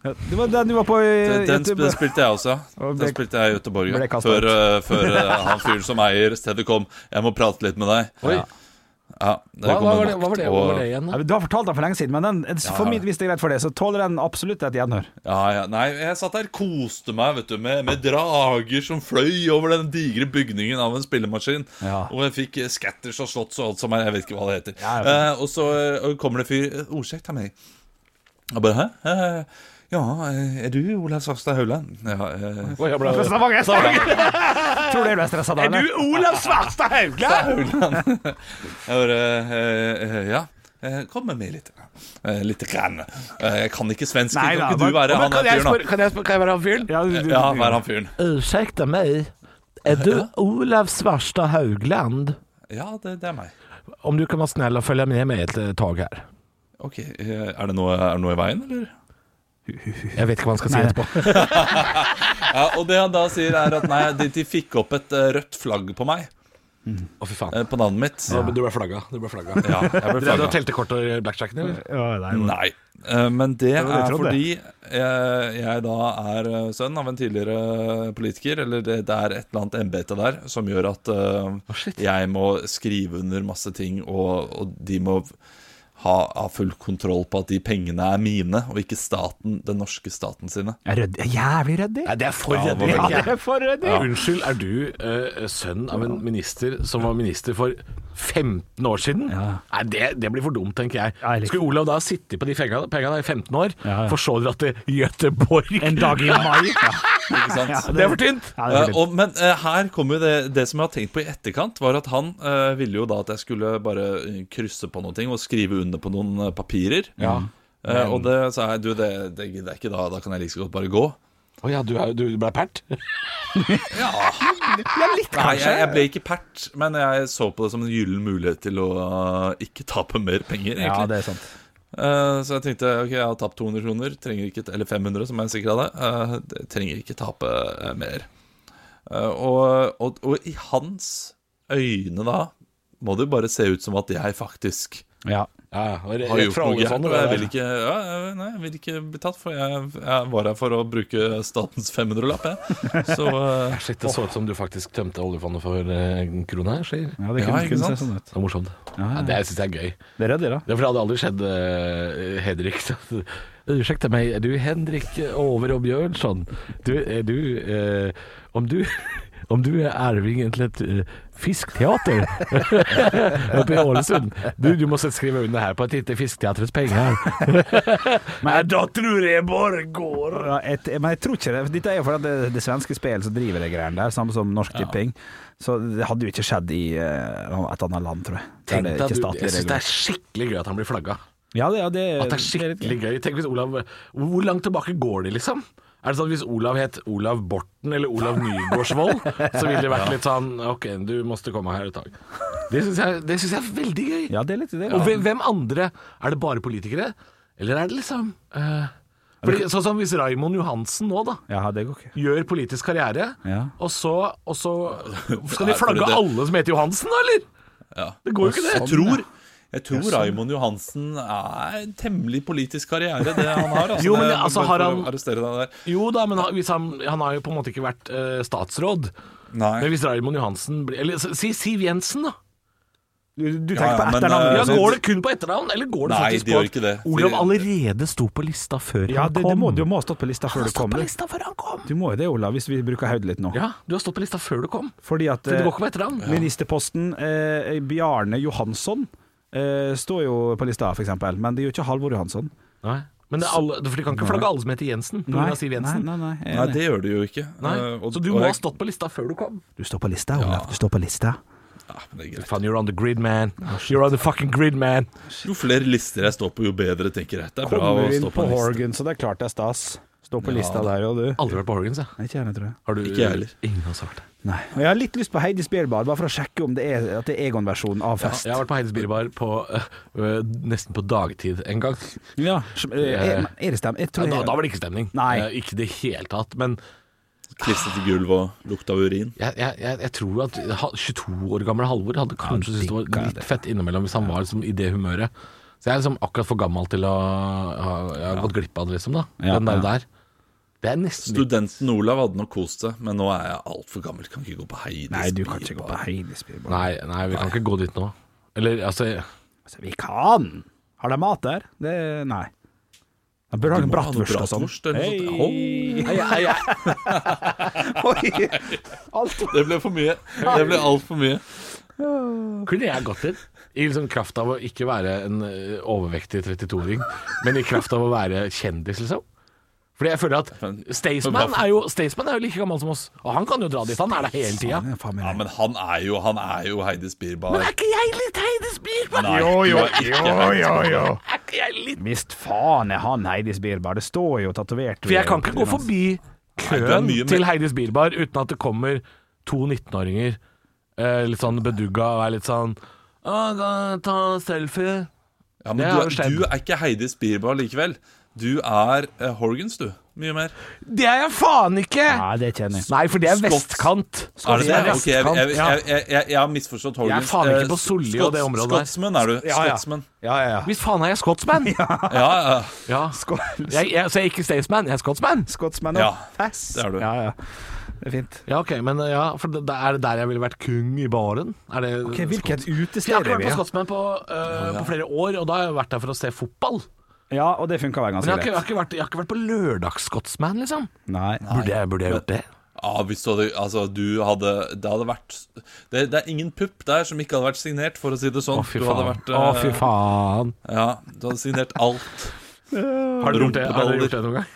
S5: ja. Det var den du var på eh,
S4: Den,
S5: i
S4: den sp-
S5: Göteborg.
S4: spilte jeg også, ja.
S5: Og
S4: Den
S5: ble-
S4: spilte jeg i Göteborg. ja.
S5: ble kastet
S4: Før, eh, før eh, han fyren som eier stedet kom. Jeg må prate litt med deg.
S3: Oi.
S4: Ja, det
S3: Hva,
S4: kom
S3: hva,
S4: en
S3: var det, hva, var
S4: vakt
S3: det, hva
S4: og-
S3: var det igjen?
S5: Ja, men Du har fortalt den for lenge siden, men den, for mitt, hvis det er greit for deg, så tåler den absolutt et gjenhør.
S4: Ja, ja. Nei, jeg satt der koste meg vet du, med, med drager som fløy over den digre bygningen av en spillemaskin.
S5: Ja.
S4: Og jeg fikk eh, scatters og slotts og alt som er. Jeg vet ikke hva det heter.
S5: Ja, ja.
S4: Eh, og så eh, og kommer det fyr eh, Ordsjekk til meg. Jeg bare Hæ? Eh, ja, eh, er du Olav Svarstad Hauland? Ja, eh,
S3: Oi, jeg ble-
S5: Tror du jeg ble stressa da, eller?
S3: Olav Svarstad Haugland?
S4: Jeg bare eh, eh, Ja. eh, Kom med meg litt. Eh, litt grann. Eh, Jeg kan ikke svensk.
S5: Nei da,
S4: kan ikke
S5: men-
S4: du være han
S3: Kan jeg
S4: fyren,
S3: spørre, kan jeg spørre, kan jeg være han fyren?
S5: Ja, du,
S4: da?
S5: du,
S4: Ja, vær han fyren.
S3: Unnskyld meg, er du Olav Svarstad Haugland?
S4: Ja, det, det er meg.
S3: Om du kan være snill og følge med eh, meg et tak her.
S4: Ok, eh, Er det noe, er det noe i veien, eller?
S3: Jeg vet ikke hva han skal si
S5: Nei.
S3: etterpå.
S4: Ja, og det han da sier er at nei, de, de fikk opp et eh, rødt flagg på meg,
S3: Å, fy faen.
S4: eh, på navnet mitt.
S3: Ja. Du ble flagga. Du ble flagga.
S4: Ja, jeg
S3: Du
S4: ble
S3: hadde
S4: flagget.
S3: teltekort og blackjacken, eller?
S5: Ja, nei, men-
S4: Nei. Eh, Men det
S5: var det jeg
S4: er
S5: trodde.
S4: fordi jeg, jeg da er eh, sønn av en tidligere politiker, eller det, det er et eller annet embete der som gjør at eh, jeg må skrive under masse ting, og, og de må ha, ha full kontroll på at de pengene er mine, og ikke staten, den norske staten sine.
S5: Jeg er redd, jeg er jævlig redd i.
S3: Nei, det er for
S4: Ja,
S3: redelig.
S4: hva
S5: Ja, det er for redd i.
S3: Ja. Unnskyld, er du eh, sønn av en minister som var minister for 15 år siden? Nei, det, det blir for dumt, tenker jeg.
S5: Ja, jeg liker-
S3: Skulle Olav da sitte på de penga, penga da i 15 år,
S5: Ja, ja.
S3: for så å dra til Göteborg?
S5: En dag i mai. Ja.
S4: Ikke sant?
S5: Ja,
S3: Det er for tynt!
S5: Ja, det er
S4: Eh,
S5: for tynt.
S4: og, men eh, her kommer jo det, det som jeg har tenkt på i etterkant, var at han eh, ville jo da at jeg skulle bare eh, krysse på noen ting og skrive under på noen eh, papirer. Eh, og det sa jeg, du, det, det gidder jeg ikke da, da kan jeg like så godt bare gå.
S3: Å ja, du, er- du ble pert?
S4: Nei, jeg, jeg ble ikke pert, men jeg så på det som en gyllen mulighet til å eh, ikke tape mer penger, egentlig.
S5: ja, det er sant.
S4: Eh, så jeg tenkte ok, jeg har tapt 200 kroner, trenger ikke, eller 500 som jeg sikkert hadde. eh, det- trenger ikke tape eh, mer. Eh, og, og, og i hans øyne, da, må det jo bare se ut som at jeg faktisk
S5: Ja.
S3: Ja, ja, og re-
S4: har
S3: rett
S4: gjort
S3: fra
S4: noe
S3: Ålesund,
S4: gærent.
S3: det
S4: Og jeg
S3: der.
S4: vil ikke, ja, jeg- nei, jeg vil ikke bli tatt, for jeg, jeg var her for å bruke statens 500-lapp, jeg. Så eh,
S3: Shit, det så ut som du faktisk tømte oljefondet for eh, en krone her, sier
S5: Ja, det
S4: Ja,
S5: kunne,
S4: ikke
S5: kunne
S4: sant?
S5: se sånn ut.
S3: Det er morsomt.
S5: Ja, ja.
S3: Ja, det syns jeg er gøy.
S5: Det er redd i, da.
S3: Det er for det hadde aldri skjedd uh, Henrik. eh, Unnskyld meg, er du Henrik Over og Bjørnson? Du, er du, eh, om du om du er arvingen til et eh, fiskteater oppe i Ålesund du, du må skrive under her på at ikke Fisketeatrets penger Men da tror jeg bare går.
S5: Ja, et, men jeg tror ikke det. Dette er jo fordi det, det svenske spillet som driver de greiene der, samme som Norsk Tipping. Så det hadde jo ikke skjedd i eh, et annet land, tror jeg. Der
S3: Tenk
S5: det
S3: deg,
S5: er ikke
S3: du,
S5: statlig
S3: jeg syns det
S5: regulering.
S3: er skikkelig gøy at han blir flagga.
S5: Ja, det, ja, det,
S3: At det er skikkelig gøy. Tenk hvis Olav Hvor langt tilbake går de, liksom? Er det sånn at Hvis Olav het Olav Borten eller Olav Nygaardsvold, så ville det vært litt sånn OK, du måste komme her et dag. Det syns jeg, det synes jeg er veldig gøy.
S5: Ja, det er litt det.
S3: Og hvem- hvem andre? Er det bare politikere? Eller er det liksom eh, fordi, Sånn som hvis Raimond Johansen nå, da.
S5: Ja, det går ikke.
S3: Gjør politisk karriere,
S5: Ja.
S3: og så, og så Skal de
S4: Nei, fordi
S3: flagge
S4: det-
S3: alle som heter Johansen, da, eller?
S4: ja.
S3: Det går jo ikke, det.
S4: Jeg tror Jeg tror Raimond Johansen er en temmelig politisk karriere, det han har. Altså,
S3: Jo, men
S4: Det-
S3: det- altså,
S4: bare
S3: har
S4: for
S3: han-
S4: å Arrestere deg der.
S3: Jo da, men han, hvis han, han har jo på en måte ikke vært eh, statsråd.
S4: Nei.
S3: Men hvis Raymond Johansen blir Eller s- si Siv Jensen, da. Du, du tenker
S4: Ja, ja,
S3: på
S4: men,
S3: etternavn.
S4: eh,
S3: Ja,
S4: så-
S3: går det kun på etternavn, eller går det
S4: Nei,
S3: faktisk
S4: det
S3: på
S4: gjør ikke det.
S3: Olav
S4: Fordi-
S3: allerede sto på lista før
S5: Ja,
S3: han
S5: det,
S3: kom?
S5: det må, du må ha stått på lista før du
S3: Stå
S5: kom.
S3: på
S5: du.
S3: lista før han kom!
S5: Du må jo det, Olav, hvis vi bruker hodet litt nå.
S3: Ja, du har stått på lista før du kom.
S5: Fordi at
S3: For det
S5: eh,
S3: går ikke på etternavn.
S5: ministerposten eh, Bjarne Johansson eh, står jo på lista, for eksempel. Men det gjør ikke Halvor Johansson.
S3: Nei. Men det er alle, for de kan ikke flagge alle som heter Jensen pga. Siv Jensen.
S5: Nei, nei, nei, jeg er
S4: Nei,
S5: enig.
S4: det gjør du jo ikke.
S3: Nei.
S4: Eh, og-
S3: Så du
S4: og
S3: må ha
S4: jeg-
S3: stått på lista før du kom.
S5: Du står på lista, Olav. Du står på lista.
S4: Ja, men det er greit.
S3: Faen, you're on the grid, man. You're on the fucking grid, man.
S4: Jo flere lister jeg står på, jo bedre, tenker jeg. Det er bra
S5: Kommer
S4: å
S5: inn
S4: stå
S5: på
S4: på en liste.
S5: Horgan, så det er klart det er stas. Står på lista der og du.
S3: Aldri vært på Horgans, jeg.
S5: Nei, Ikke gjerne, tror jeg.
S3: Har du
S4: Ikke jeg heller.
S3: Ingen har svart det.
S5: Nei. Men jeg har litt lyst på Heidi Spjelbard, bare for å sjekke om det er, at det er Egon-versjonen av fest.
S3: Jeg har vært på Heides Bilbar på, øh, øh, nesten på dagtid en gang.
S5: Ja, som- eh, Er, er det stem? Jeg
S3: Da,
S5: tror
S3: da
S5: jeg,
S3: var det ikke stemning.
S5: Nei.
S3: Eh, ikke i det hele tatt. Men
S4: Klistret til gulv og lukt av urin.
S3: jeg, jeg, jeg, jeg tror at ha- 22 år gamle Halvor hadde kanskje syntes det var litt fett innimellom hvis han var liksom, i det humøret. Så jeg er liksom akkurat for gammel til å ha jeg har gått glipp av det, liksom. da
S5: Ja,
S3: Den der,
S5: ja.
S3: der. Det er nesten litt
S4: Studenten Olav hadde nok kost seg, men nå er jeg altfor gammel. Kan ikke gå på Heidis
S5: nei, du kan ikke
S4: Bilbar.
S5: gå på Heidi Spjelbard.
S3: Nei, nei vi kan ikke gå dit nå. Eller altså
S5: Altså, vi kan! Har de mat der? Det, nei. De bør ha
S4: Du
S5: en
S4: må ha noe
S5: bratwurst og sånn.
S4: bratwurst eller noe sånt. Åh.
S5: Hei, hei, hei. Oi. Alt.
S4: Det ble for mye. Det ble altfor mye.
S3: Kunne jeg gått dit? I liksom kraft av å ikke være en eh, overvektig 32-åring, men i kraft av å være kjendis, liksom. Fordi jeg føler at Staysman er, jo- Staysman er jo like gammel som oss, og han kan jo dra dit. Han er der hele tida.
S5: Ja, faen meg.
S4: Ja, men han er jo, han er jo Heidis Birbar.
S3: Er ikke jeg litt Heidi Spiermann?
S4: Nei, du er ikke Heidis Birbar.
S3: Er ikke jeg litt
S5: Visst faen er han Heidi Spjelbard. Det står jo tatovert.
S3: For jeg kan ikke gå
S5: ved-
S3: forbi
S4: du er
S3: køen
S4: mye mer-
S3: til Heidis Bilbar uten at det kommer to 19-åringer eh, litt sånn bedugga og er litt sånn Å, ga- ta selfie.
S4: Ja, men
S3: Det har jo
S4: du, er,
S3: skjedd.
S4: du er ikke Heidis Birbar likevel. Du er eh, Horgans, du. Mye mer.
S3: Det er jeg faen ikke!
S5: Nei, det kjenner jeg.
S3: Nei, for det er
S4: Skott.
S3: vestkant.
S4: Er det det?
S3: er
S4: Ok, jeg,
S3: vestkant,
S4: jeg,
S3: ja.
S4: jeg, jeg, jeg, jeg har misforstått Horgans.
S3: Jeg er faen ikke
S4: Eh,
S3: på Solli og det
S4: Scots-
S3: området der.
S4: Scotsman er du.
S5: Ja, ja.
S4: Scotsman.
S5: Ja, ja, ja.
S3: Hvis faen er jeg skotsman? ja.
S4: Ja, ja.
S3: Jeg, jeg, så jeg er ikke Staysman, jeg er skotsman?
S5: Skotsmann
S4: Ja,
S5: Fess.
S4: det er du.
S5: Ja, ja. Det er fint.
S3: Ja, ok, men eh, ja, for det, det er det der jeg ville vært kung i baren? Er det
S5: Ok, Hvilket
S3: Jeg har
S5: utested
S3: ikke
S5: er
S3: vært
S5: vi?
S3: på
S5: ja?
S3: Skotsman på, eh, på flere år, og da har jeg vært der for å se fotball.
S5: Ja, og det funka vel
S3: Men jeg
S5: ganske
S3: har ikke, jeg
S5: greit.
S3: har ikke, vært, jeg har ikke vært på lørdagsskotsman, liksom.
S5: Nei.
S3: Burde jeg, burde jeg gjort det?
S4: Ja, hvis du hadde, altså, du hadde Det hadde vært det, det er ingen pupp der som ikke hadde vært signert, for å si det sånn.
S3: Å, fy
S4: Du hadde
S3: faen.
S4: vært,
S3: Å,
S4: eh,
S3: fy faen.
S4: Ja, du hadde signert alt.
S3: Har dere gjort det, har dere gjort det noen gang?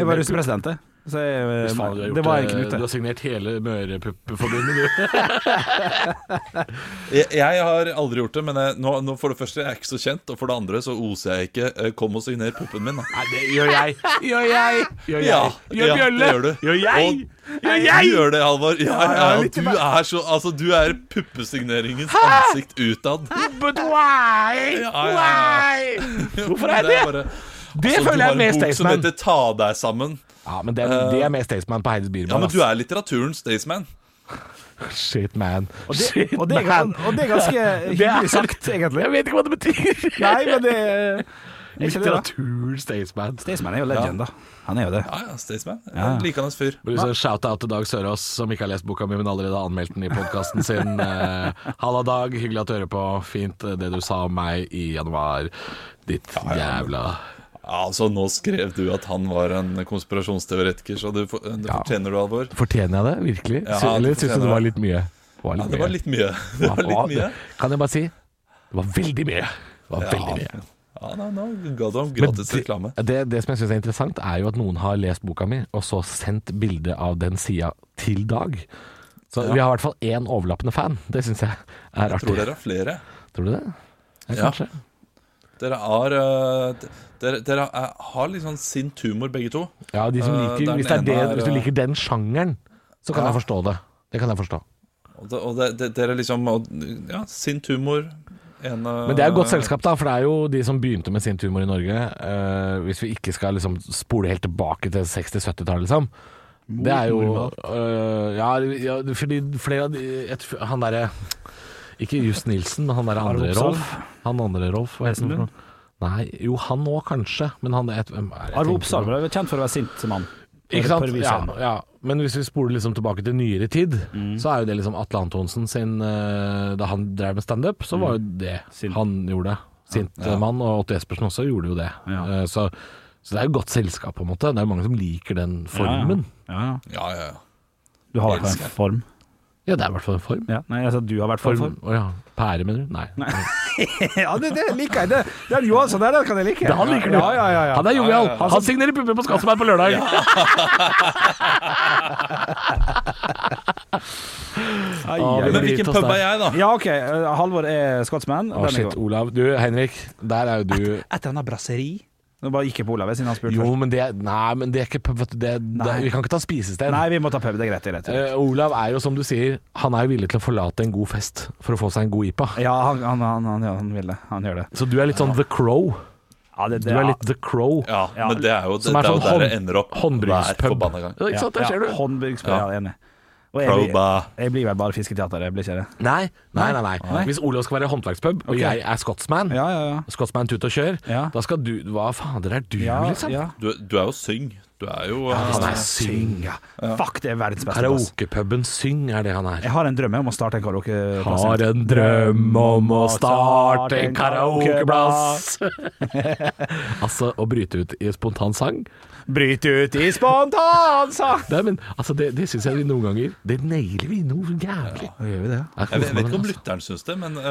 S5: Jeg var russepresident, jeg. Så jeg, eh,
S3: Hvis faen, du har gjort
S5: det var en
S3: det. Du
S5: knute.
S3: har signert hele Mørepuppeforbundet, du.
S4: Jeg, jeg har aldri gjort det, men jeg, nå, nå for det første jeg er ikke så kjent, og for det andre så oser jeg ikke eh, 'kom og signer puppen min', da.
S3: Nei, det gjør jeg. Gjør jeg. Gjør jeg. Gjør
S4: ja,
S3: Bjølle.
S4: det gjør du.
S3: Gjør jeg.
S4: Og-
S3: Gjør jeg.
S4: Du gjør det, Halvor. Ja, ja,
S5: ja, litt
S4: du er så Altså, du er puppesigneringens ansikt utad.
S3: But why?
S4: Ja, ja,
S3: Why?
S4: ja.
S3: Hvorfor er det?
S4: bare-
S3: Det føler jeg
S4: altså,
S3: er
S4: Du har
S3: mer
S4: en bok som
S3: Staysman.
S4: heter 'Ta deg sammen'.
S3: Ja, men det, det er mer Staysman på Heidis
S4: Ja,
S3: Bilbar.
S4: men du er litteraturens Staysman.
S3: Shit, man.
S5: Og det,
S3: Shit,
S5: og, det er,
S3: man.
S5: gan- og det er ganske hyggelig sagt, egentlig.
S3: Jeg vet ikke hva det betyr.
S5: Nei, men det er ikke det, da.
S3: Litteratur Staysman.
S5: Staysman er jo legend, da. Han er jo det.
S4: Ja, ja, Staysman.
S5: Ja.
S4: En Likandes fyr.
S3: Vil du så Shout-out til Dag Sørås, som ikke har lest boka mi, men allerede har anmeldt den i podkasten sin. Eh, Halla, Dag. Hyggelig at du hører på. Fint eh, det du sa om meg i januar. Ditt jævla
S4: Ja, altså Nå skrev du at han var en konspirasjonsteoretiker, så du, for, det fortjener du alvor.
S3: Fortjener jeg det, virkelig?
S4: Ja,
S3: Sy- Eller
S4: du
S3: syns du
S4: fortjener
S3: det var
S4: det.
S3: litt mye? Det var
S4: Ja,
S3: litt
S4: det var
S3: mye.
S4: litt mye. Det var litt mye.
S3: Kan jeg bare si det var veldig mye. Det var veldig mye.
S4: Ja, nå, nå ga du ham
S3: Men
S4: gratis
S3: det-
S4: reklame.
S3: Det, det som jeg syns er interessant, er jo at noen har lest boka mi, og så sendt bilde av den sida til Dag. Så vi har i hvert fall én overlappende fan. Det syns jeg er
S4: Jeg
S3: artig.
S4: tror dere er flere.
S3: Tror du det? Ja,
S4: Ja.
S3: kanskje.
S4: Dere, er, eh, d- dere, dere er, har litt sånn sint humor, begge to.
S3: Ja, de som
S4: Eh,
S3: liker,
S4: den
S3: hvis, det er
S4: ene
S3: det,
S4: er,
S3: hvis du
S4: eh,
S3: liker den sjangeren, så kan
S4: ja.
S3: jeg forstå det. Det kan jeg forstå.
S4: Og, det, og det, det, dere liksom og, Ja, sint humor. En,
S3: Men det er jo godt selskap, da, for det er jo de som begynte med sin humor i Norge. eh, hvis vi ikke skal liksom spole helt tilbake til 60-70-tallet, liksom. Det er jo eh, ja, ja, fordi flere av de jeg tror- Han derre Ikke Just Nilsen, men han der andre
S5: Oppsal.
S3: Rolf. Han andre Rolf, hva heter han? for noe?
S5: Hesselund?
S3: Nei, jo han òg kanskje, men han er et hvem er det jeg
S5: Arve
S3: tenker
S5: Oppsal
S3: på?
S5: ble jo kjent for å være sint mann.
S3: Ikke sant?
S5: For å vise
S3: Ja,
S5: henne. Mm.
S3: ja. Men hvis vi spoler liksom tilbake til nyere tid, så er jo det liksom Atle Antonsen sin eh, Da han drev med standup, så var jo
S5: Mm.
S3: det
S5: Sint.
S3: han gjorde. Sint eh, mann, og Otto Espersen også gjorde jo det.
S5: Ja.
S3: Eh, Så, så det er jo godt selskap, på en måte. Det er jo mange som liker den formen.
S5: Ja, ja. ja.
S4: Ja, ja, ja.
S5: Du har i hvert fall en form.
S3: Ja, det er i hvert fall en form.
S5: Ja. Nei, altså, du har i hvert fall en
S3: form.
S5: form.
S3: Å ja. Pære, mener du? Nei.
S5: ja, det, det liker jeg. Det, det er Johansson der, det kan jeg like.
S3: Det han liker du.
S5: Ja, ja, ja, ja.
S3: Han er jovial. Han signerer pupper på Skattsberg på lørdag.
S5: Ai,
S3: Ja,
S5: ai,
S3: det
S4: Men
S5: ai.
S3: blir
S4: hvilken
S3: tost
S4: pub
S3: der.
S4: er jeg, da?
S5: Ja, OK. eh, Halvor er skotsmann.
S3: Å,
S5: Den er
S3: shit,
S5: god.
S3: Olav. Du, Henrik, der er jo du
S5: Et eller annet brasseri. Nå bare gikk jeg på Olav siden han spurte
S3: Jo,
S5: først.
S3: men det Nei, men det er ikke pub, vet du. Det, det,
S5: Nei.
S3: vi kan ikke ta spisested.
S5: Nei, vi må ta pub. Det er greit. Det er greit.
S3: Eh, Olav er jo som du sier, han er jo villig til å forlate en god fest for å få seg en god IPA.
S5: Ja, han, han, han, han, ja, han vil det. Han gjør det.
S3: Så du er litt sånn The Crow.
S5: Ja, det,
S3: Du er litt The Crow.
S4: Ja,
S5: Ja.
S4: men det er jo, det,
S3: Som er
S4: det er
S3: sånn
S4: jo der det
S3: hånd-
S4: ender opp hver
S3: Håndbryggerspub.
S4: forbanna gang.
S3: Ja, ikke sant, der ser du.
S5: Håndbryggsspill, ja, enig. Og jeg, blir-
S4: Proba.
S5: jeg blir vel bare fisketeater, jeg blir ikke det.
S3: Nei, nei, nei. nei.
S5: Nei.
S3: Hvis Olav skal være håndverkspub, og
S5: Ok.
S3: jeg er Scotsman,
S5: Ja, ja, ja.
S3: Scotsman tut og kjør,
S5: Ja.
S3: da skal du Hva fader er du,
S5: Ja,
S3: liksom?
S5: ja.
S4: Du, du er jo syng. Du er jo
S3: Han
S4: eh,
S3: er syng.
S5: Ja. Fuck, det er verdens beste plass.
S3: Karaokepuben Syng er det han er. sånn-
S5: Jeg har en drøm om å starte en karaokeplass.
S3: Har en drøm om å starte en karaokeplass. altså, å bryte ut i spontan sang
S5: Bryt ut i spontansang!
S3: Nei, men altså, det, det syns jeg vi noen ganger Det nailer vi noe jævlig.
S5: Gjør vi det?
S3: Jeg koser
S4: Jeg vet, jeg vet
S3: meg,
S4: ikke om
S3: altså.
S4: lytteren syns det, men eh,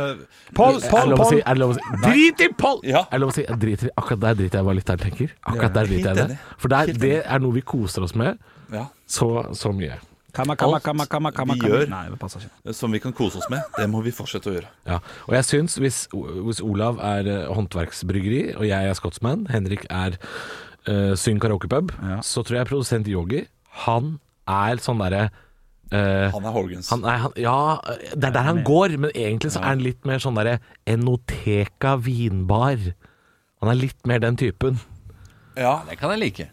S5: Pål,
S3: Er det
S5: Pål,
S3: lov å si?
S5: Pål!
S3: Er det lov å si? Drit i Pål!
S4: Ja.
S3: Er det lov å si? Jeg driter i Akkurat der driter jeg hva lytteren tenker. Akkurat der driter jeg i det. For der, det er noe vi koser oss med
S4: ja,
S3: så, så mye.
S5: Kamma, kamma, kamma, kamma, kamma,
S4: vi
S5: kamma.
S4: gjør.
S5: Nei, det passer ikke.
S4: som vi kan kose oss med, det må vi fortsette å gjøre.
S3: Ja. Og jeg syns, hvis, hvis Olav er eh, håndverksbryggeri, og jeg er Scotsman, Henrik er uh, Syng karaokepub, så tror jeg produsent Yogi, han er sånn derre eh,
S4: Han er Horgans.
S3: Han, nei, han, ja, det er der han går, men egentlig så er han litt mer sånn derre Enoteka vinbar. Han er litt mer den typen.
S4: Ja,
S6: Det kan jeg like.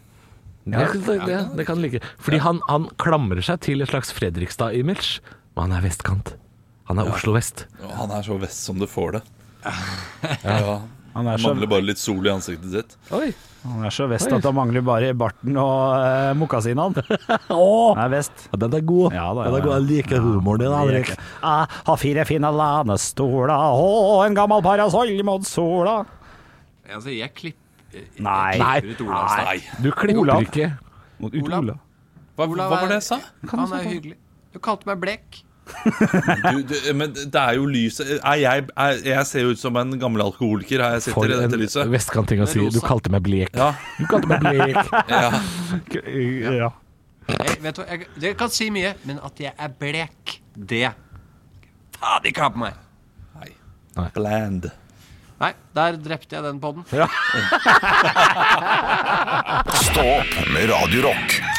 S3: det, det, det, det kan han like. Fordi han, han klamrer seg til et slags Fredrikstad-image, men han er vestkant. Han er Oslo vest.
S4: og han er så vest som du får det. Ja.
S5: Han er
S4: Han
S5: så,
S4: mangler bare litt sol i ansiktet sitt.
S3: Oi.
S5: han er så vest at han mangler bare barten og uh, mokasinene. Han er vest.
S3: Ja, den er god.
S5: Ja da, ja
S3: den
S5: da.
S3: er god. Jeg liker humoren din, Henrik.
S5: Jeg har Ah, fire fine lanestoler og en gammel parasoll mot sola.
S6: Altså, jeg klipper
S5: Nei.
S6: ut Olavs
S4: Nei.
S3: Du klipper
S5: Olav.
S3: ikke.
S5: Mot ut
S6: Olav.
S5: Olav.
S4: Hva, hva
S6: Olav
S4: var
S6: er-
S4: det jeg sa?
S6: Han er hyggelig. Du kalte meg blek.
S4: Du, du, men det er jo lyset er jeg, er, jeg ser jo ut som en gammel alkoholiker her jeg
S3: For
S4: sitter i
S3: en
S4: dette lyset.
S3: vestkantting å si. Du kalte meg blek.
S4: Ja.
S3: Du kalte meg blek.
S4: Ja.
S5: Ja.
S6: Jeg, vet du, hva, jeg, dere kan si mye, men at jeg er blek, det Faen ikke ha på meg!
S4: Bland.
S6: Nei, der drepte jeg den podden.
S1: Stå opp med Radio Rock.